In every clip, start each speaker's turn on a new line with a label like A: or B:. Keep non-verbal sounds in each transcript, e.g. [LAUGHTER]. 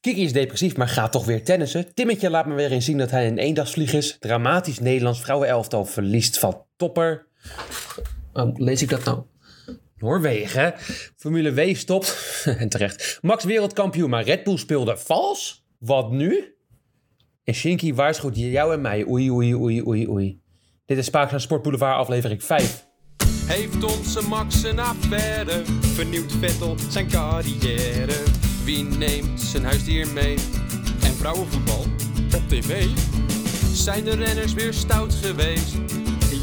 A: Kiki is depressief, maar gaat toch weer tennissen. Timmetje laat me weer eens zien dat hij een eendagsvlieg is. Dramatisch Nederlands vrouwenelftal verliest van topper. Oh, lees ik dat nou? Noorwegen. Formule W stopt. [LAUGHS] en terecht. Max wereldkampioen, maar Red Bull speelde vals. Wat nu? En Shinky waarschuwt jou en mij. Oei, oei, oei, oei, oei. Dit is Spaakzaam Sport Boulevard aflevering 5.
B: Heeft onze Max een affaire? Vernieuwt Vettel zijn carrière? Wie neemt zijn huisdier mee? En vrouwenvoetbal op tv? Zijn de renners weer stout geweest?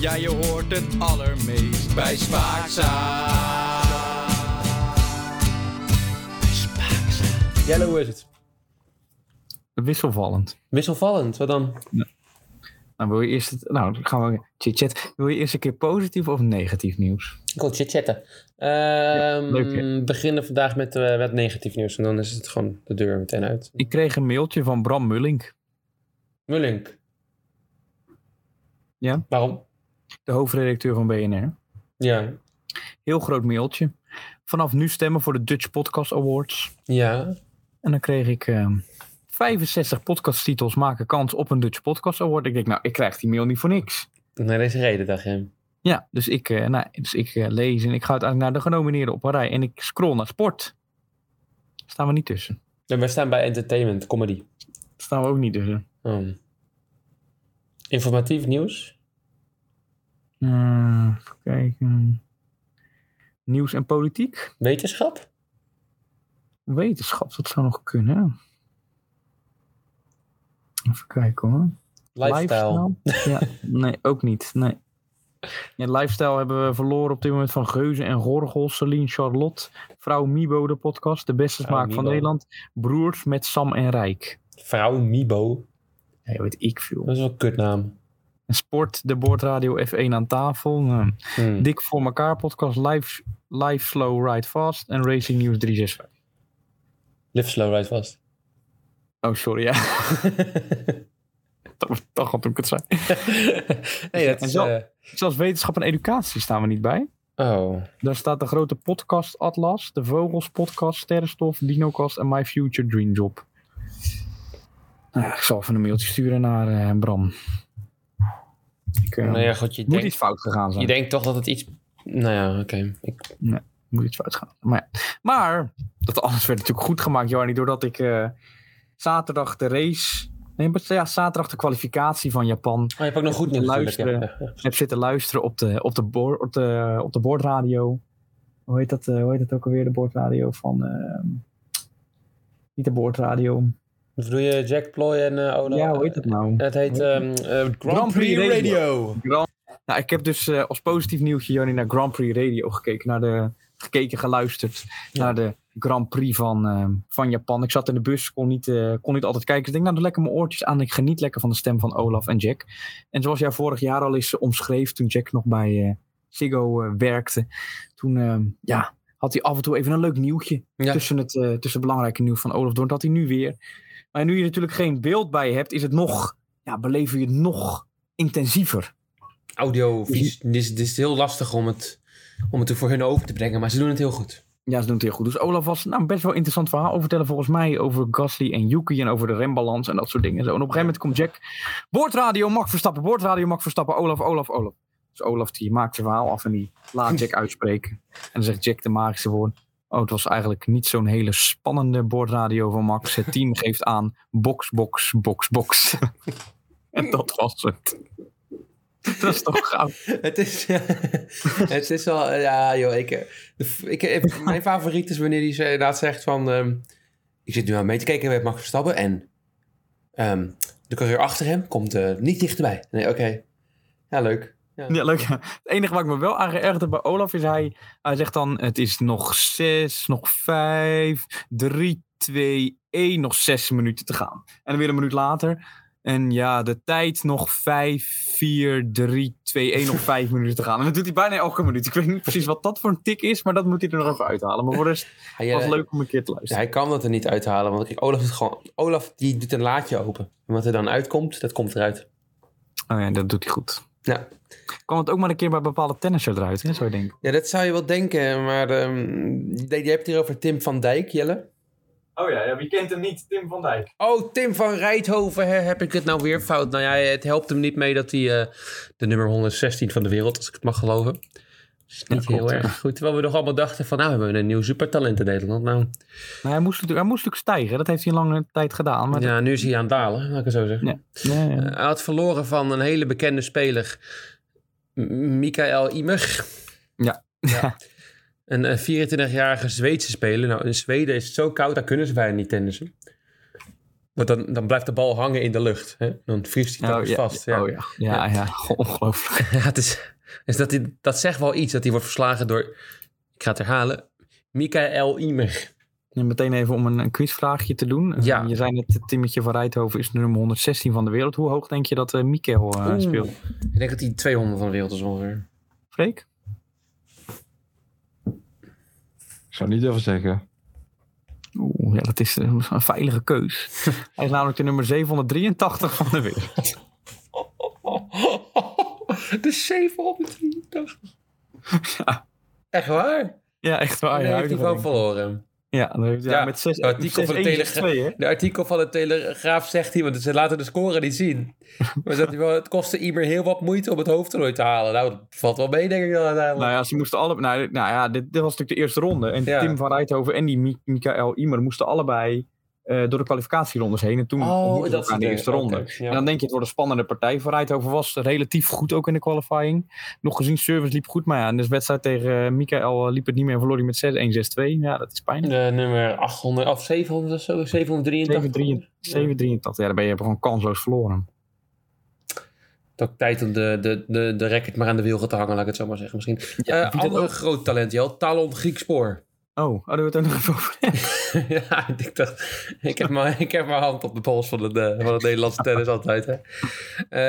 B: Ja, je hoort het allermeest bij Spaakzaam.
A: Jelle, hoe is het?
C: Wisselvallend.
A: Wisselvallend, wat dan?
C: Nou, wil je eerst het, nou, dan gaan we chit-chat. Wil je eerst een keer positief of negatief nieuws?
A: Ik wil chit-chatten.
C: leuk,
A: Ehm, we beginnen vandaag met eh, wat negatief nieuws. En dan is het gewoon de deur meteen uit.
C: Ik kreeg een mailtje van Bram Mullink,
A: Mullink.
C: Ja?
A: Waarom?
C: de hoofdredacteur van BNR.
A: Ja.
C: Heel groot mailtje. Vanaf nu stemmen voor de Dutch Podcast Awards.
A: Ja.
C: En dan kreeg ik ehm 65 podcasttitels maken kans op een Dutch Podcast Award. Ik denk, nou, ik krijg die mail niet voor niks.
A: Naar deze reden, dacht je.
C: Ja, dus ik, eh, nou, dus ik eh, lees en ik ga uiteindelijk naar de genomineerden op een rij. En ik scroll naar sport. Staan we niet tussen.
A: Ja, we staan bij entertainment, comedy.
C: Staan we ook niet tussen.
A: Ehm, informatief nieuws.
C: Eh, even kijken. Nieuws en politiek.
A: Wetenschap.
C: Wetenschap, dat zou nog kunnen. Even kijken hoor.
A: Lifestyle.
C: Lifestyle? Ja, nee, ook niet. Nee. Ja, lifestyle hebben we verloren op dit moment van Geuze en Gorgel, Celine Charlotte, Vrouw Mibo, de podcast, de beste
A: Vrouw
C: smaak van
A: Mibo.
C: Nederland, Broers met Sam en Rijk.
A: Vrouw Mibo.
C: Nee, weet ik veel.
A: Dat is wel een kutnaam.
C: En Sport, de boordradio F1 aan tafel, nou,
A: Hmm.
C: Dik voor elkaar podcast, Live, live Slow Ride Fast en Racing News 365.
A: Live slow, ride [LAUGHS] vast.
C: Oh, sorry, ja. [LAUGHS] dat was toch wat ik het zei.
A: nee, dat is...
C: Zo.
A: eh,
C: Zelfs wetenschap en educatie staan we niet bij.
A: oh.
C: Daar staat de grote podcast Atlas, de Vogels podcast, Sterrenstof, Dinocast en My Future Dream Job. Nou, ik zal even een mailtje sturen naar eh, Bram. Ik, eh,
A: Nou ja, goed, je
C: moet
A: denkt,
C: iets fout gegaan zijn.
A: je denkt toch dat het iets... Nou ja, oké. Ik-
C: Moet iets fout gaan. Maar, ja. maar dat alles werd natuurlijk goed gemaakt, Jarny, doordat ik eh, zaterdag de race. Nee, maar ja, zaterdag de kwalificatie van Japan
A: Oh, je hebt ook nog goed nieuws. natuurlijk, ja.
C: Luisteren.
A: Ja, ja.
C: heb zitten luisteren op de, op de, boor, op de, op de boordradio. Hoe heet, dat, eh, hoe heet dat ook alweer? De boordradio van. ehm, niet de boordradio.
A: Wat bedoel je Jack Ploy en eh Ola?
C: ja, hoe heet dat nou?
A: Het heet ehm, eh, Grand,
C: Grand
A: Prix
C: Prix
A: Radio.
C: Radio. Grand- Nou, ik heb dus eh, als positief nieuwtje, Joni, naar Grand Prix Radio gekeken. Naar de, gekeken, geluisterd
A: Ja.
C: naar de Grand Prix van, ehm, van Japan. Ik zat in de bus, kon niet, eh, kon niet altijd kijken. Dus ik denk, nou, doe lekker mijn oortjes aan. Ik geniet lekker van de stem van Olaf en Jack. En zoals jij vorig jaar al eens eh, omschreef, toen Jack nog bij eh, Ziggo eh, werkte. Toen, ehm, ja, had hij af en toe even een leuk nieuwtje
A: Ja.
C: tussen, het, eh, tussen het belangrijke nieuws van Olaf. Doordat hij nu weer... Maar nu je natuurlijk geen beeld bij je hebt, is het nog... Ja, beleven je het nog intensiever.
A: Audio, vies. Dit is, dit is heel lastig om het, om het er voor hun over te brengen, maar ze doen het heel goed.
C: Ja, ze doen het heel goed. Dus Olaf was nou, best wel een interessant verhaal over vertellen volgens mij over Gasly en Yuki en over de rembalans en dat soort dingen. Zo. En op een gegeven moment komt Jack, boordradio mag verstappen, boordradio mag verstappen, Olaf, Olaf, Olaf. Dus Olaf die maakt zijn verhaal af en die laat Jack uitspreken. En dan zegt Jack de magische woord. Oh, het was eigenlijk niet zo'n hele spannende boordradio van Max. Het team geeft aan box, box, box, box. [LAUGHS] en dat was het. Dat is toch gaaf.
A: [LAUGHS] Het is, [LAUGHS] het is wel, ja joh, ik, eh, de f- ik, eh, mijn favoriet is wanneer hij ze- inderdaad zegt van, ehm, ik zit nu aan mee te kijken bij Max Verstappen en ehm, de coureur achter hem komt eh, niet dichterbij. Nee, oké. Ja, leuk.
C: Ja, leuk. ja. Het enige wat ik me wel aan geërgerd heb bij Olaf is hij, hij zegt dan: het is nog zes, nog vijf, drie, twee, één, nog zes minuten te gaan. En dan weer een minuut later. En ja, de tijd nog vijf, vier, drie, twee, één, nog vijf minuten te gaan. En dat doet hij bijna elke minuut. Ik weet niet precies wat dat voor een tik is, maar dat moet hij er nog even uithalen. Maar voor de rest
A: Hij, eh,
C: was het leuk om een keer te luisteren.
A: hij kan dat er niet uithalen, want kijk, Olaf, is gewoon, Olaf die doet een laadje open. En wat er dan uitkomt, dat komt eruit.
C: Oh ja, dat doet hij goed.
A: Ja.
C: Kwam het ook maar een keer bij bepaalde tennissen eruit, hè, zou je denken.
A: Ja, dat zou je wel denken, maar ehm, je je hebt het hier over Tim van Dijk, Jelle.
C: Oh ja, ja, wie kent hem niet? Tim van Dijk.
A: Oh, Tim van Rijthoven, hè, heb ik het nou weer fout? Nou ja, het helpt hem niet mee dat hij eh, de nummer 116 van de wereld, als ik het mag geloven. Dat is niet
C: klopt,
A: heel
C: ja.
A: erg goed. Terwijl we nog allemaal dachten van, nou we hebben een nieuw supertalent in Nederland. Nou,
C: Maar hij moest, natuurlijk, hij moest natuurlijk stijgen. Dat heeft hij een lange tijd gedaan. Maar
A: ja, nu is hij aan het dalen, laat ik het zo zeggen.
C: ja. Ja, ja.
A: Eh, hij had verloren van een hele bekende speler, M- Mikael Imer.
C: Ja.
A: Ja. Een eh, 24-jarige Zweedse speler. Nou, in Zweden is het zo koud, daar kunnen ze bijna niet tennissen. Want dan, dan blijft de bal hangen in de lucht. Hè? Dan vriest hij
C: Oh,
A: telkens
C: ja.
A: vast. Ja.
C: Oh ja, ja, ja. [LAUGHS] Goh, ongelooflijk.
A: [LAUGHS] Ja, het is, is dat, hij, dat zegt wel iets, dat hij wordt verslagen door, ik ga het herhalen, Mikael Imer.
C: Ja, meteen even om een, een quizvraagje te doen. Eh,
A: Ja.
C: Je zei net, het timmetje van Rijthoven is nummer 116 van de wereld. Hoe hoog denk je dat eh Mikel eh,
A: Oeh.
C: speelt?
A: Ik denk dat hij 200 van de wereld is ongeveer.
C: Freek?
D: Ik zou niet durven zeggen.
C: Oeh, ja, dat is een een veilige keus.
A: [LAUGHS]
C: Hij is namelijk de nummer 783 van de wereld.
A: [LAUGHS] De 783. Echt waar?
C: Ja, echt
A: Oh,
C: waar. Ja,
A: heeft hij gewoon verloren.
C: ja, dan heeft hij
A: Ja,
C: ja, met 6
A: het artikel van de Telegraaf. De artikel van de Telegraaf zegt hij, want ze laten de score niet
C: [LAUGHS]
A: zien. Maar zegt hij wel, het kostte Imer heel wat moeite om het hoofdtoernooi te halen. Nou, dat valt wel mee, denk ik dan uiteindelijk.
C: Nou ja, ze moesten alle, nou, dit- nou ja, dit, dit was natuurlijk de eerste ronde. En
A: Ja.
C: Tim van Rijthoven en die Mi- Mikael Imer moesten allebei eh, door de kwalificatierondes heen. En toen
A: Oh,
C: ontmoetten ze elkaar in de
A: dingen.
C: eerste ronde.
A: Oké, ja.
C: En dan denk je, het wordt een spannende partij. Van Rijthoven was relatief goed ook in de qualifying. Nog gezien, service liep goed. Maar ja, in de wedstrijd tegen eh, Mikael eh, liep het niet meer. en Verloor hij met 6-1, 6-2. Ja, dat is pijnlijk.
A: De nummer 800 of 700 of zo, 783.
C: 7-83. Ja, dan ben je gewoon kansloos verloren.
A: Dat tijd om de, de, de, de racket maar aan de wielgen te hangen, laat ik het zo maar zeggen misschien.
C: Ja,
A: Eh
C: wie dat
A: ander
C: ook-
A: groot talent, Jel, Talon Griekspoor.
C: Oh, oh daar hebben we het ook nog even over. [LAUGHS]
A: [LAUGHS] ja, ik dacht, ik heb, mijn, ik heb mijn hand op de pols van het, eh, van het Nederlandse tennis altijd. Hè.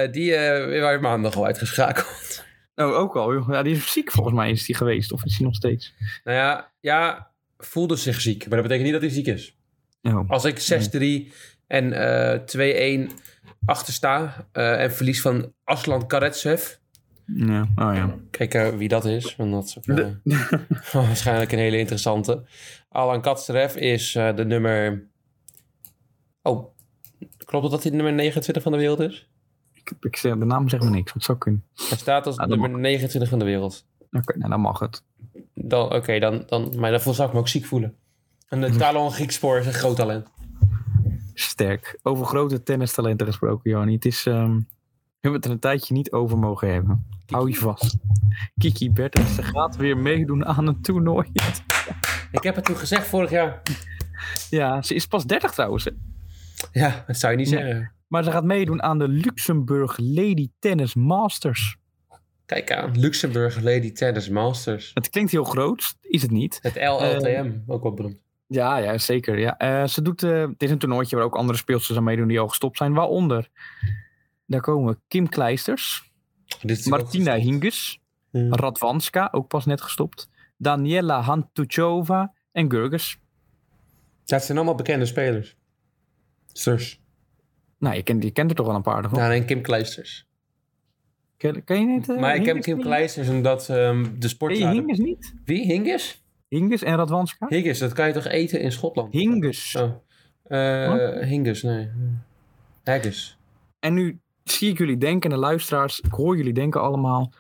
A: Eh, die eh waren maandag al uitgeschakeld. [LAUGHS]
C: Oh, ook al. joh. Ja, die is ziek volgens mij is die geweest. Of is die nog steeds?
A: nou ja, ja, voelde zich ziek, maar dat betekent niet dat hij ziek is.
C: Oh.
A: Als ik 6-3 en eh 2-1 achtersta eh, en verlies van Aslan Karetsev...
C: Ja. Oh, ja.
A: Kijk eh, wie dat is, want dat is ook, eh, [LAUGHS] waarschijnlijk een hele interessante. Alan Katsterev is eh, de nummer... Oh, klopt het dat hij de nummer 29 van de wereld is?
C: Ik, ik, zeg- de naam zegt me niks. Wat zou kunnen?
A: Hij staat als
C: Ah, dat
A: nummer 29 van de wereld.
C: Oké, nou dan mag het.
A: Dan, Oké, dan, dan, maar daarvoor zou ik me ook ziek voelen. En de Talon Griekspoor is een groot talent.
C: Sterk. Over grote tennistalenten gesproken, Joni. Het is. ehm, we hebben het er een tijdje niet over mogen hebben. Hou je vast. Kiki Bertens ze gaat weer meedoen aan een [LAUGHS] toernooi.
A: Ik heb het toen gezegd vorig jaar.
C: Ja, ze is pas 30 trouwens. hè.
A: Ja, dat zou je niet
C: Nee.
A: zeggen.
C: Maar ze gaat meedoen aan de Luxemburg Lady Tennis Masters.
A: Kijk aan, Luxemburg Lady Tennis Masters.
C: Het klinkt heel groot, is het niet.
A: Het LLTM, ook wel beroemd.
C: Ja, ja zeker. Ja. Eh, ze doet, eh het is een toernooitje waar ook andere speelsters aan meedoen die al gestopt zijn. Waaronder, daar komen we, Kim Kleisters,
A: Dit is
C: Martina
A: ook-
C: Hingis,
A: Ja.
C: Radwanska, ook pas net gestopt, Daniela Hantuchova en Gurgis.
A: Ja, het zijn allemaal bekende spelers. Sters.
C: Nou, je kent, je kent er toch wel een paar. Toch?
A: Ja, en Nou, Kim Kleisters.
C: Ken, ken je niet? eh,
A: Maar ik heb
C: Hingis
A: Kim
C: niet?
A: Kleisters omdat ehm, de
C: Ken
A: sport...
C: je Hingis niet?
A: Wie? Hingis?
C: Hingis en Radwanska?
A: Hingis, dat kan je toch eten in Schotland?
C: Hingis.
A: Oh. Eh, Hingis, nee. Haggis.
C: En nu zie ik jullie denken, en de luisteraars, ik hoor jullie denken allemaal: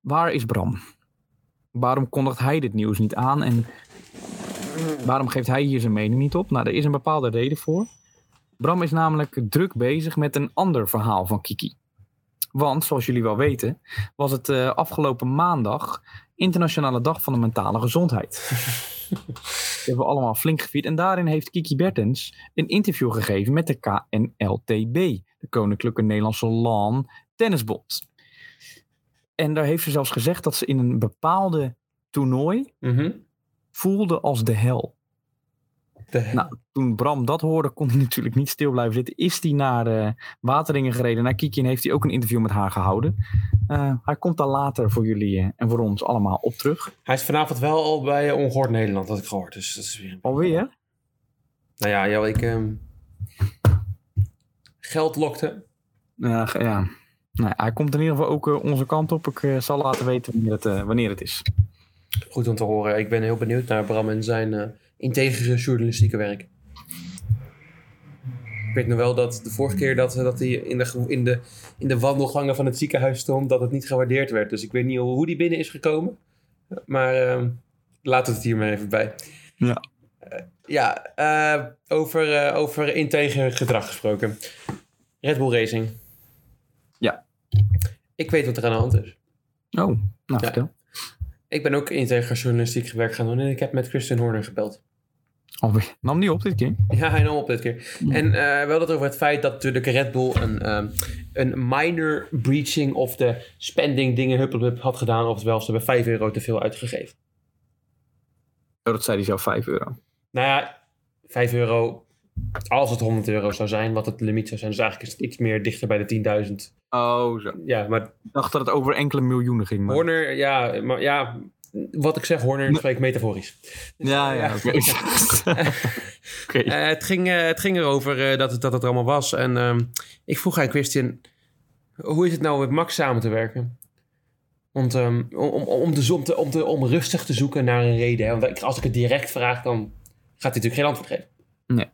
C: waar is Bram? Waarom kondigt hij dit nieuws niet aan en waarom geeft hij hier zijn mening niet op? Nou, er is een bepaalde reden voor. Bram is namelijk druk bezig met een ander verhaal van Kiki. Want, zoals jullie wel weten, was het eh, afgelopen maandag Internationale Dag van de Mentale Gezondheid. Die hebben we allemaal flink gevierd. En daarin heeft Kiki Bertens een interview gegeven met de KNLTB, de Koninklijke Nederlandse Lawn Tennisbond. En daar heeft ze zelfs gezegd dat ze in een bepaalde toernooi
A: [LAUGHS] Mhm.
C: voelde als de hel.
A: De-
C: Nou, toen Bram dat hoorde, kon hij [LAUGHS] natuurlijk niet stil blijven zitten. Is hij naar eh, Wateringen gereden, naar Kiki, en heeft hij ook een interview met haar gehouden. Eh, hij komt daar later voor jullie eh, en voor ons allemaal op terug.
A: Hij is vanavond wel al bij eh, Ongehoord Nederland, had ik gehoord. Dus dat is weer...
C: Alweer?
A: Nou ja, joh, ik... ehm, Geld lokte.
C: Ja, ge- Eh, ja. Nou, ja, hij komt in ieder geval ook eh, onze kant op. Ik eh, zal laten weten wanneer het, eh, wanneer het is.
A: Goed om te horen. Ik ben heel benieuwd naar Bram en zijn eh, integere journalistieke werk. weet nog wel dat de vorige keer dat, eh, dat hij in de, ge- in, de, in de wandelgangen van het ziekenhuis stond, dat het niet gewaardeerd werd. Dus ik weet niet hoe die binnen is gekomen. Maar ehm laten we het hier maar even bij.
D: Ja.
A: Eh, ja, eh, over, eh, over integer gedrag gesproken. Red Bull Racing.
C: Ja.
A: Ik weet wat er aan de hand is.
C: Oh, nou vertel.
A: Ik ben ook integer journalistiek werk gaan doen en ik heb met Christian Horner gebeld.
C: Alweer. Nam niet op dit keer.
A: Ja, hij nam op dit keer. En eh, we hadden het over het feit dat natuurlijk Red Bull een, ehm, een minor breaching of de spending dingen huppelhup had gedaan. Oftewel, ze hebben 5 euro te veel uitgegeven.
C: Oh, dat zei hij zelf 5 euro.
A: Nou ja, 5 euro als het 100 euro zou zijn, wat het limiet zou zijn. Dus eigenlijk is het iets meer dichter bij de 10.000.
C: Oh, zo.
A: Ja, maar
C: Ik dacht dat het over enkele miljoenen ging. Maar...
A: Horner, ja, maar ja, wat ik zeg, Horner spreekt metaforisch.
C: Ja, ja, oké. [LAUGHS] Oké.
A: Eh, het, ging, eh, het ging erover eh, dat, het, dat het er allemaal was. En ehm, ik vroeg aan Christian, hoe is het nou met Max samen te werken? Want, ehm, om, om, om, de, om, te, om, te, om rustig te zoeken naar een reden. Hè? Want ik- als ik het direct vraag, dan gaat hij natuurlijk geen antwoord geven.
C: Nee.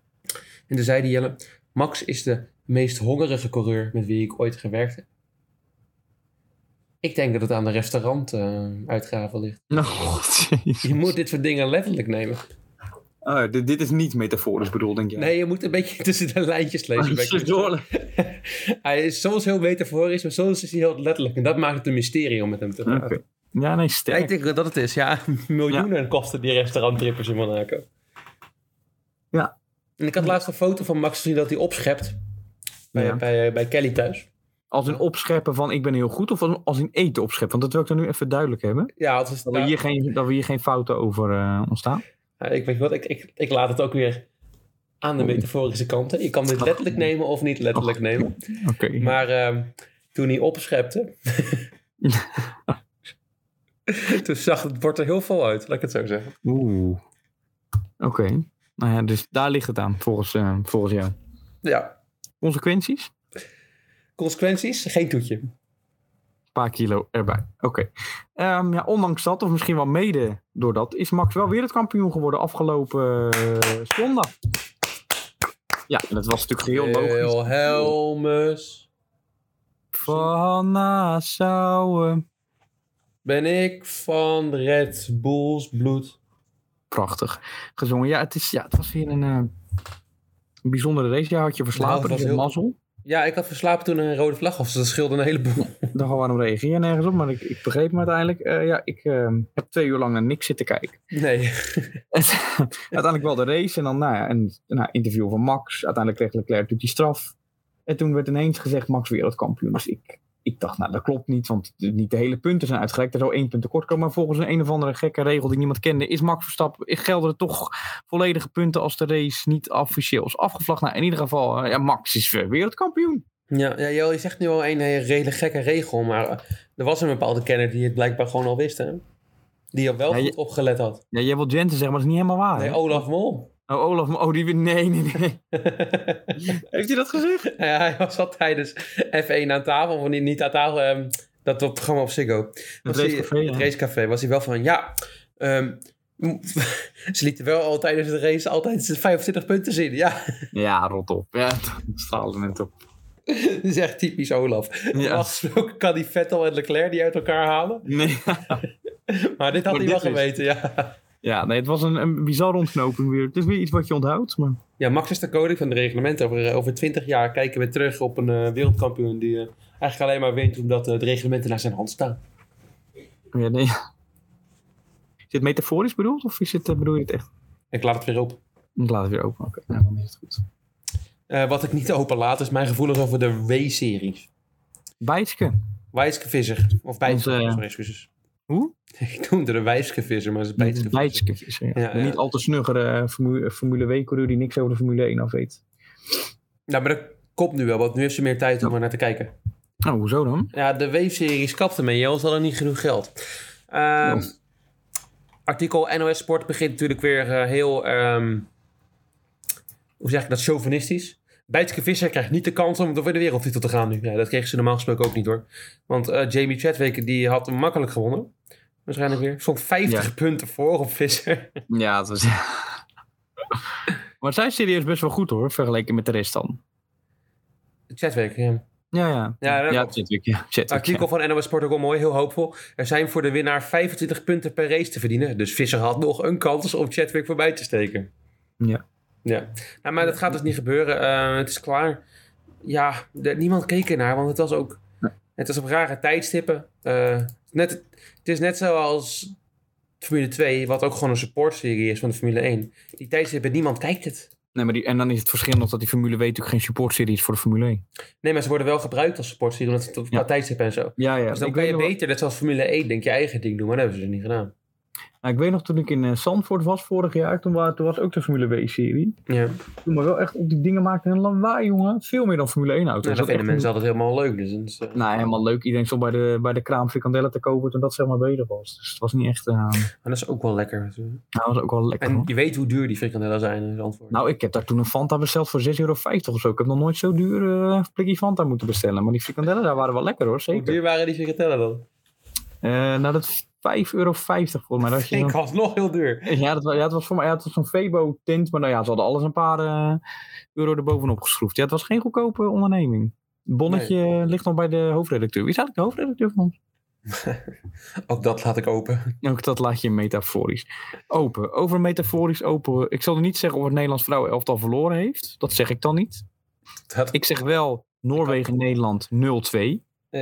A: En toen zei die Jelle, Max is de meest hongerige coureur met wie ik ooit gewerkt heb. Ik denk dat het aan de restaurantuitgaven uitgaven ligt.
C: Nou, god, jezus.
A: Je moet dit soort dingen letterlijk nemen.
C: Oh, dit, dit is niet metaforisch bedoeld, denk jij? Oh,
A: Nee, je moet een beetje [LAUGHS] tussen de lijntjes lezen. bij Christian.
C: Oké.
A: [LAUGHS] Hij is soms heel metaforisch, maar soms is hij heel letterlijk. En dat maakt het een mysterie om met hem te praten.
C: Ja, nee,
A: Ja, ik
C: sterk.
A: denk dat dat het is. Ja, [LAUGHS] miljoenen kosten die restauranttrippers in Monaco.
C: Ja.
A: En ik had laatst een foto van Max gezien dat hij opschept. Bij,
C: Ja.
A: bij, bij Kelly thuis.
C: Als een opscheppen van ik ben heel goed, of als- als een eten opscheppen? Want dat wil ik dan nu even duidelijk hebben.
A: Ja, het is,
C: Dat, we, hier geen, dat we hier geen fouten over eh, ontstaan.
A: Ja, ik weet wat, ik, ik, ik laat het ook weer aan de metaforische kant. hè. Je kan dit letterlijk nemen of niet letterlijk nemen.
C: Oké.
A: Maar ehm, toen hij [LAUGHS] opschepte... [LAUGHS] toen zag het bord er heel vol uit, laat ik het zo zeggen.
C: Oeh. Oké. Nou ja, dus daar ligt het aan, volgens, eh, volgens jou.
A: Ja.
C: Consequenties?
A: Consequenties? Geen toetje.
C: Een paar kilo erbij. Oké. Ehm, ja, ondanks dat, of misschien wel mede door dat, is Max wel weer het kampioen geworden afgelopen eh, zondag. Ja, en dat was natuurlijk heel logisch.
A: Wilhelmus,
C: Van Nassau.
A: ben ik van Red Bulls bloed.
C: Prachtig gezongen. Ja, het, is, ja, het was weer een, eh, een bijzondere race. Jij had je
A: Nou,
C: verslapen,
A: het was
C: dus een
A: heel-
C: mazzel.
A: Ja, ik had verslapen toen er een rode vlag was. dus Dat scheelde een heleboel.
C: Daar gaan we waarom reageer je nergens op, maar ik, ik begreep me uiteindelijk. Eh, ja, ik ehm, heb twee uur lang naar niks zitten kijken.
A: [LAUGHS] Nee.
C: [LAUGHS] uiteindelijk wel de race. En dan nou ja, een nou, interview van Max. Uiteindelijk kreeg Leclerc natuurlijk die straf. En toen werd ineens gezegd Max wereldkampioen. Dus ik, ik dacht, nou dat klopt niet. Want de- niet de hele punten zijn uitgereikt. Er zou één punt tekort komen. Maar volgens een, een of andere gekke regel die niemand kende... is Max Verstappen, gelden er toch volledige punten... als de race niet officieel is afgevlagd. Nou, in ieder geval, eh, ja, Max is eh, wereldkampioen.
A: Ja, ja Joel, je zegt nu al een hele redelijk gekke regel. Maar eh, er was een bepaalde kenner die het blijkbaar gewoon al wist, hè? Die al wel
C: Ja, je-
A: goed opgelet had.
C: Ja, jij wilt Jensen zeggen, maar dat is niet helemaal waar.
A: Nee,
C: hè?
A: Olaf Mol. [LAUGHS]
C: Oh, Olaf, oh, die... weer- Nee, nee, nee. [LAUGHS] Heeft hij dat gezegd?
A: ja, hij was al tijdens F1 aan tafel. Of niet, niet aan tafel, ehm, dat op het programma op Ziggo.
C: Het
A: Was hij-
C: racecafé, ja.
A: het racecafé was hij wel van, ja, ehm, [LAUGHS] m- ze lieten wel al tijdens de race altijd 25 punten zien. Ja, [LAUGHS]
C: Ja, rot op. Ja, [LAUGHS] straalde net op.
A: dat is echt typisch Olaf.
C: Ja.
A: Normaal gesproken kan die Vettel en Leclerc die uit elkaar halen.
C: Nee. [LAUGHS]
A: Maar dit had
C: Maar
A: hij wel
C: dit is-
A: geweten, ja.
C: Ja, nee, het was een, een bizarre ontknoping weer. Het is weer iets wat je onthoudt, maar...
A: Ja, Max is de koning van de reglementen. Over, eh, over 20 jaar kijken we terug op een eh, wereldkampioen die eh, eigenlijk alleen maar wint omdat eh, de reglementen naar zijn hand staan.
C: Ja, nee. Is dit metaforisch bedoeld, of is het, eh, bedoel je het echt?
A: Ik laat het weer op.
C: Ik laat het weer open, oké. Nou, dan is het goed.
A: Eh, wat ik niet [LAUGHS] open laat is mijn gevoelens over de W-series.
C: Bijtske.
A: Wijske Visser. Of Bijtske,
C: Onze, eh,
A: sorry, excuses.
C: Hoe?
A: [LAUGHS] Ik noemde de Wijske Visser, maar het is Bijtske Visser.
C: Bijtske visser, ja.
A: Ja,
C: De
A: ja.
C: Niet al te snuggere eh, Formule, Formule W-coureur die niks over de Formule 1 af weet.
A: Nou, maar dat komt nu wel, want nu heeft ze meer tijd om er naar te kijken.
C: Nou, hoezo [LAUGHS] dan?
A: Ja, de Wave-series kapte mee, joh, ze hadden niet genoeg geld. Ehm,
C: Ja.
A: Artikel NOS Sport begint natuurlijk weer eh, heel, ehm, hoe zeg ik dat, chauvinistisch. Bijtske Visser krijgt niet de kans om door de wereldtitel te gaan nu. Ja, dat kregen ze normaal gesproken ook niet hoor. Want eh, Jamie Chadwick die had hem makkelijk gewonnen. Waarschijnlijk weer. Stond 50 punten voor op Visser.
C: [LAUGHS] Ja, het was... maar zij is serieus best wel goed, hoor, vergeleken met de rest dan.
A: Chadwick, ja.
C: Ja, ja.
A: Ja, dat
C: ja
A: klopt.
C: Chadwick, ja. Chadwick, ja.
A: Artikel van NOS Sport ook wel mooi, heel hoopvol. Er zijn voor de winnaar 25 punten per race te verdienen. Dus Visser had nog een kans om Chadwick voorbij te steken.
C: Ja.
A: ja. Nou, maar dat gaat dus niet gebeuren. Eh, het is klaar. Ja, de- niemand keek ernaar, want het was ook... Het was op rare tijdstippen. Eh, net, het is net zoals Formule 2, wat ook gewoon een supportserie is van de Formule 1. Die tijdstippen, niemand kijkt het.
C: Nee, maar die, en dan is het verschil nog dat die Formule W natuurlijk geen supportserie is voor de Formule E. 1.
A: Nee, maar ze worden wel gebruikt als supportserie, omdat het op
C: Ja.
A: tijdstippen en zo.
C: Ja, ja.
A: Dus dan
C: ik
A: kan
C: weet
A: je
C: nog wel-
A: beter, net zoals Formule 1, denk je eigen ding doen. Maar dat hebben ze dus niet gedaan.
C: Nou, ik weet nog toen ik in eh, Zandvoort was vorig jaar, toen, wa- toen was ook de Formule W-serie.
A: Ja,
C: Toen maar wel echt op die dingen maakten een lawaai, jongen. Veel meer dan Formule 1-auto's.
A: nou, dat vinden mensen altijd helemaal leuk. Dus, dat is, eh,
C: Nou, helemaal leuk. Iedereen stond bij de, bij de kraam frikandellen te kopen toen dat zeg maar beter was. Dus het was niet echt... eh,
A: maar dat is ook wel lekker. natuurlijk.
C: nou, dat was ook wel lekker,
A: En
C: hoor.
A: je weet hoe duur die frikandellen zijn in Zandvoort.
C: Nou, ik heb daar toen een Fanta besteld voor 6,50 euro of zo. Ik heb nog nooit zo duur eh, een blikje Fanta moeten bestellen. Maar die frikandellen daar waren wel lekker, hoor.
A: hoe
C: Zeker.
A: duur waren die frikandellen dan?
C: Eh, nou, dat is 5,50 euro volgens mij.
A: [LAUGHS]
C: Dat had je
A: Ik
C: dan-
A: was nog heel duur.
C: Ja, dat, wa- ja, het was voor mij ja, het was zo'n Febo-tint. Maar nou ja, ze hadden alles een paar eh, euro erbovenop geschroefd. Ja, het was geen goedkope onderneming. Bonnetje eh, ligt nog bij de hoofdredacteur. Wie is eigenlijk de hoofdredacteur van ons?
A: Ook dat laat ik open. [LAUGHS]
C: Ook dat laat je metaforisch open. Over metaforisch open. Ik zal niet zeggen of het Nederlands vrouwenelftal verloren heeft. Dat zeg ik dan niet.
A: Dat, ik,
C: Ik zeg wel Noorwegen-Nederland 0-2.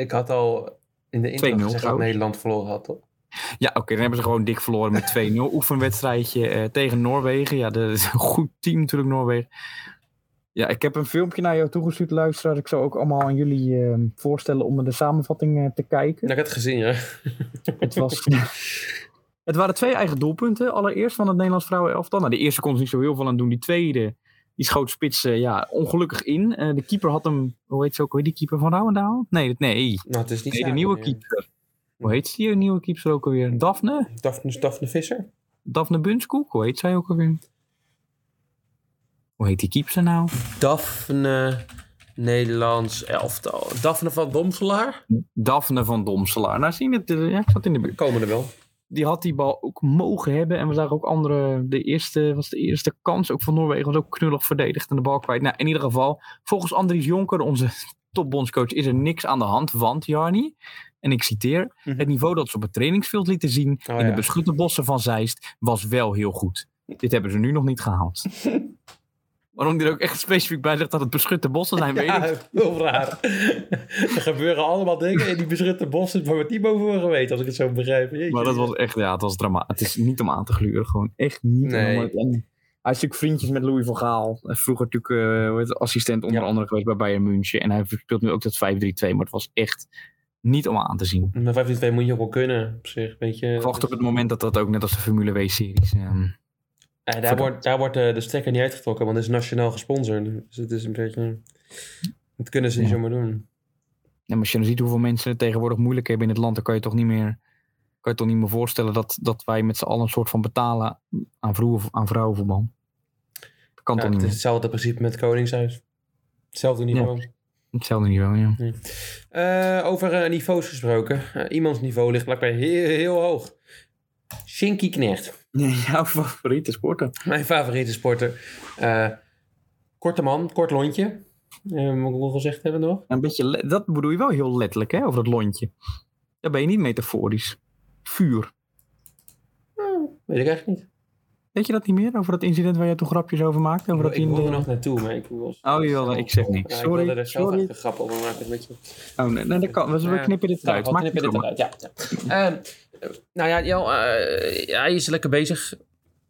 A: had al in de intro
C: 2-0
A: gezegd dat
C: trouwens.
A: Nederland verloren had, toch?
C: Ja, oké, dan hebben ze gewoon dik verloren met 2-0. Oefenwedstrijdje eh, tegen Noorwegen. Ja, dat is een goed team natuurlijk, Noorwegen. Ja, ik heb een filmpje naar jou toegestuurd, luisteraar. Ik zou ook allemaal aan jullie eh, voorstellen om de samenvatting eh, te kijken.
A: Ik heb het gezien, ja.
C: Het, was, [LAUGHS] het waren twee eigen doelpunten. Allereerst van het Nederlands vrouwenelftal. Nou, de eerste kon ze niet zo heel veel aan doen. Die tweede, die schoot spits eh, ja, ongelukkig in. Eh, de keeper had hem, hoe heet ze ook, hoe heet die keeper van Rouwendaal? Nee, dat- nee.
A: Nou, het is niet
C: nee, de
A: zaak
C: nieuwe
A: meer.
C: keeper. Hoe heet die eh, nieuwe keeper ook alweer? Daphne?
A: Daphne, Daphne Visser?
C: Daphne Bunskoek, hoe heet zij ook alweer? Hoe heet die keeper nou?
A: Daphne Nederlands elftal. Daphne van Domselaar?
C: Daphne van Domselaar. Nou, zie je het? eh, Ja, ik zat in de buurt.
A: Komen er wel.
C: Die had die bal ook mogen hebben. En we zagen ook andere. De eerste was de eerste kans ook van Noorwegen. Was ook knullig verdedigd en de bal kwijt. Nou, in ieder geval, volgens Andries Jonker, onze topbondscoach, is er niks aan de hand. Want, Jarni, en ik citeer:
A: Mhm.
C: Het niveau dat ze op het trainingsveld lieten zien.
A: Oh,
C: in
A: ja.
C: de beschutte bossen van Zeist was wel heel goed. Dit hebben ze nu nog niet
A: [LAUGHS]
C: gehaald. Waarom die er ook echt specifiek bij zegt dat het beschutte bossen zijn, weet ik
A: Ja, [LAUGHS] heel raar. er gebeuren allemaal dingen in die beschutte bossen waar we het niet boven hebben geweten, als ik het zo begrijp. Jeetje.
C: Maar dat was echt, ja, het was drama. Het is niet om aan te gluren, gewoon echt niet.
A: Nee.
C: om- En Hij is natuurlijk vriendjes met Louis van Gaal. Hij is Vroeger natuurlijk eh, hoe heet het, assistent onder
A: Ja.
C: andere geweest bij Bayern München. En hij speelt nu ook dat 5-3-2, maar het was echt niet om aan te zien.
A: Met 15-2 moet je ook wel kunnen, op zich. Weet je.
C: Ik wacht op het moment dat dat ook net als de Formule W-series... ehm,
A: Eh, daar wordt, daar wordt eh, de stekker niet uitgetrokken, want het is nationaal gesponsord. Dus het is een beetje... Dat kunnen ze niet
C: Ja.
A: zomaar doen.
C: ja, maar als je dan ziet hoeveel mensen het tegenwoordig moeilijk hebben in het land... dan kan je toch niet meer, kan je toch niet meer voorstellen dat, dat wij met z'n allen een soort van betalen aan, vroeg, aan vrouwenvoetbal. Dat kan
A: Ja, het
C: toch niet
A: is
C: meer.
A: hetzelfde principe met Koningshuis. Hetzelfde niveau.
C: Hetzelfde niveau, [LAUGHS] ja.
A: Eh, over eh, niveaus gesproken. Eh, iemands niveau ligt blijkbaar heel, heel hoog. Shinky Knecht.
C: Jouw favoriete sporten.
A: [CLEARS THROAT] Mijn favoriete sporter. Eh, korte man, kort lontje. Eh, moet ik wel gezegd hebben nog.
C: Een beetje le- dat bedoel je wel heel letterlijk, hè, over dat lontje. Daar ben je niet metaforisch. Vuur.
A: Weet ik eigenlijk niet.
C: Weet je dat niet meer? Over dat incident waar jij toen grapjes over maakte? Over dat
A: ik
C: in
A: wilde
C: de...
A: er nog naartoe, maar ik was...
C: Oh, jawel, ik zeg niks.
A: Ja, ik
C: Sorry,
A: wilde er zelf
C: sorry.
A: echt een grap over maken. Weet je.
C: Oh, nee, nee, dat kan. We, we
A: Ja.
C: knippen dit eruit.
A: Nou,
C: Maak
A: knip je dit
C: het eruit.
A: eruit, ja. ja. Ehm, nou ja, Jel, eh, hij is lekker bezig,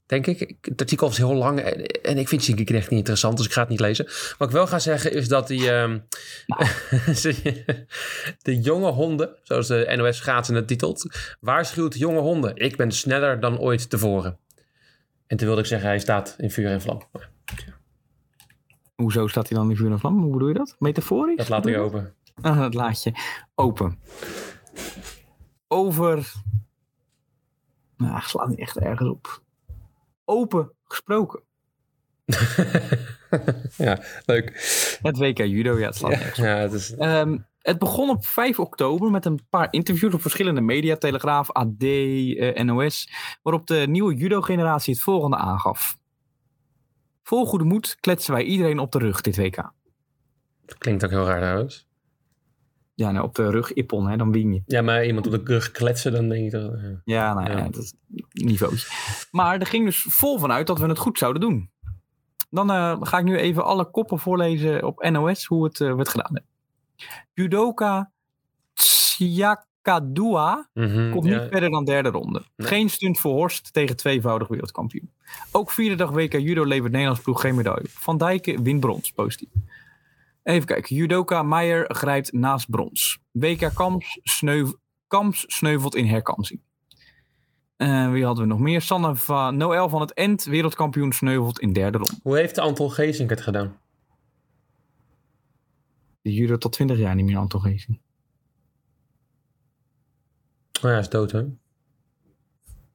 A: denk ik. Ik- Het artikel is heel lang en, en ik vind Shinky Knecht niet interessant, dus ik ga het niet lezen. Wat ik wel ga zeggen is dat die... ehm, [LAUGHS] de jonge honden, zoals de NOS Schaatsen het titelt, waarschuwt jonge honden. Ik ben sneller dan ooit tevoren. En toen wilde ik zeggen, hij staat in vuur en vlam. Maar
C: Hoezo staat hij dan in vuur en vlam? Hoe bedoel je dat? Metaforisch?
A: Dat laat ik open. [LAUGHS]
C: Ah, dat laat je open. Over. Nou, slaat niet echt ergens op. Open gesproken.
A: ja, leuk.
C: Het WK Judo, ja, het slaat nergens op.
A: Ja, het is...
C: Ehm, het begon op 5 oktober met een paar interviews op verschillende media, Telegraaf, AD, eh, NOS, waarop de nieuwe judo-generatie het volgende aangaf. Vol goede moed kletsen wij iedereen op de rug dit WK.
A: Dat klinkt ook heel raar trouwens.
C: Ja, nou, op de rug ippon, hè, dan win je.
A: Ja, maar iemand op de rug kletsen, dan denk ik dat... eh. ja.
C: Ja, nou ja,
A: Ja.
C: dat is niveautje. Maar er ging dus vol vanuit dat we het goed zouden doen. Dan eh, ga ik nu even alle koppen voorlezen op NOS hoe het eh, werd gedaan. Judoka Tsiakadua
A: Mhm,
C: komt
A: ja.
C: niet verder dan derde ronde.
A: Nee.
C: Geen stunt voor Horst tegen tweevoudig wereldkampioen. Ook vierde dag WK judo levert Nederlands ploeg geen medaille. Van Dijken wint brons, positief. Even kijken. Judoka Meijer grijpt naast brons. WK Kamps, sneu- Kamps sneuvelt in herkansing. Eh, wie hadden we nog meer? Sanne van Noël van het End, wereldkampioen sneuvelt in derde ronde.
A: Hoe heeft Anton Geesink het gedaan? Nou
C: De judo tot 20 jaar niet meer aan toch eens.
A: Oh, ja, hij is dood, hè? [LAUGHS]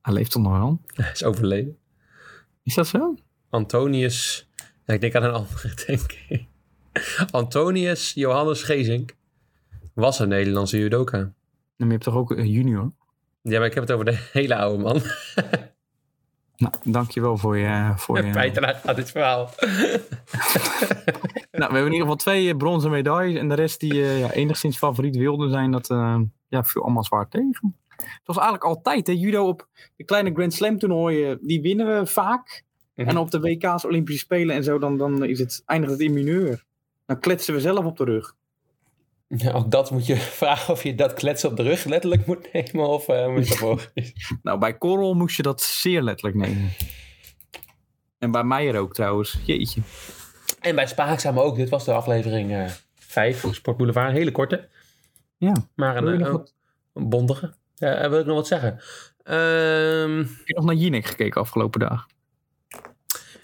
C: Hij leeft toch nog wel?
A: Hij is overleden.
C: Is dat zo?
A: Antonius... Ja, ik denk aan een [LAUGHS] andere, denk ik. Antonius Johannes Geesink was een Nederlandse judoka.
C: Maar je hebt toch ook een junior?
A: Ja, maar ik heb het over de [LAUGHS] hele oude man.
C: Nou, dankjewel voor je... Voor je
A: Bijdrage aan dit verhaal.
C: Nou, we hebben in ieder geval twee eh, bronzen medailles. En de rest die eh, ja, enigszins favoriet wilden zijn, dat eh, ja, viel allemaal zwaar tegen. Het was eigenlijk altijd, hè, judo op de kleine Grand Slam toernooien, eh, die winnen we vaak.
A: Mhm.
C: En op de WK's, Olympische Spelen en zo, dan, dan is het, eindigt het in mineur. Dan kletsen we zelf op de rug.
A: ook dat moet je [LAUGHS] vragen of je dat kletsen op de rug letterlijk moet nemen of [LAUGHS] metaforisch.
C: Nou, bij Korrel moest je dat zeer letterlijk nemen. En bij Meijer ook trouwens. Jeetje.
A: en bij Spaakzaam ook. Dit was de aflevering eh 5 van Sport Boulevard. Een hele korte.
C: Ja.
A: Maar
C: Wil je
A: een,
C: nog
A: eh,
C: wat-
A: een bondige. Ja, eh, wil ik nog wat zeggen? Ehm,
C: Heb je nog naar Jinek gekeken afgelopen dag?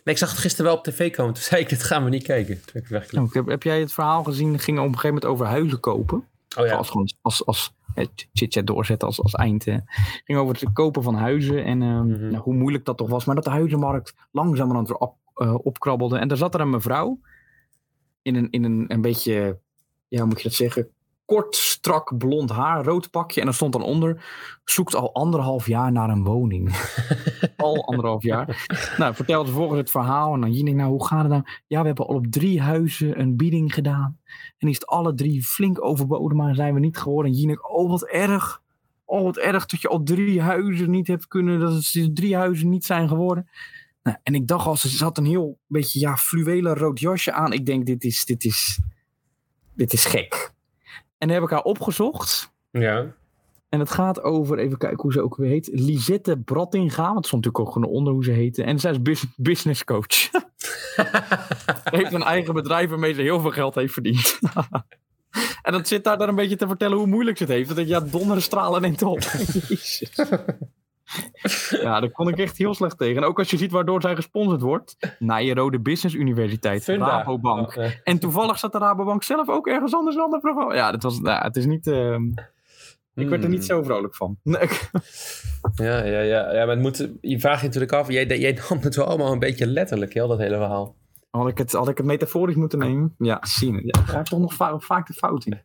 A: nee, ik zag het gisteren wel op tv komen. Toen zei ik, dit gaan we niet kijken. Toen heb ik weggeklikt.
C: Nou, ik heb, heb jij het verhaal gezien? Het ging op een gegeven moment over huizen kopen.
A: Oh ja,
C: Als, gewoon als, als eh, chit-chat doorzetten als, als eind. eh. ging over het kopen van huizen en ehm,
A: Mhm.
C: nou, hoe moeilijk dat toch was. Maar dat de huizenmarkt langzamerhand weer op, eh, opkrabbelde. En daar zat er een mevrouw in een, in een, een beetje, ja, hoe moet je dat zeggen? Kort, strak, blond haar, rood pakje. En er stond dan onder, zoekt al anderhalf jaar naar een woning. al anderhalf jaar. Nou, vertelde vervolgens het verhaal. En dan Jinek, nou, hoe gaat het nou? Ja, we hebben al op drie huizen een bieding gedaan. En is het alle drie flink overboden, maar zijn we niet geworden. En Jinek, oh wat erg. Oh wat erg dat je al drie huizen niet hebt kunnen. Dat het drie huizen niet zijn geworden. Nou, en ik dacht al, ze ze had een heel beetje ja, fluwelen rood jasje aan. Ik denk, dit is, dit is, dit is gek. En dan heb ik haar opgezocht.
A: ja.
C: En het gaat over, even kijken hoe ze ook weer heet. Lisette Brattinga. Want het stond natuurlijk ook gewoon onder hoe ze heette. En zij is bus- business coach. Ze heeft een eigen bedrijf waarmee ze heel veel geld heeft verdiend. [LAUGHS] en dat zit daar dan een beetje te vertellen hoe moeilijk ze het heeft. Dat ik, ja, donderen stralen neemt op. Jezus. Ja, daar kon ik echt heel slecht tegen. En ook als je ziet waardoor zij gesponsord wordt. Nijrode Business Universiteit,
A: Funda.
C: Rabobank.
A: Oh, eh,
C: En toevallig zat de Rabobank zelf ook ergens anders in een ander programma. Ja, dat was, nou, het is niet... ehm, ik werd er
A: hmm.
C: niet zo vrolijk van. Nee.
A: Mm. Ja, ja, ja. ja maar het moet, je vraagt je natuurlijk af. Jij, jij nam het wel allemaal een beetje letterlijk, joh, dat hele verhaal.
C: Had ik, het, had ik het metaforisch moeten nemen? Ja, Ah, zien. Ja, daar heb ik toch nog va- vaak de fout in.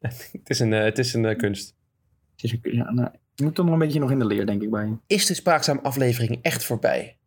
A: Het is een, eh, het is een eh, kunst.
C: Het is een- ja, nou, je moet toch nog een beetje nog in de leer, denk ik, bij je.
A: Is de Spraakzaam aflevering echt voorbij?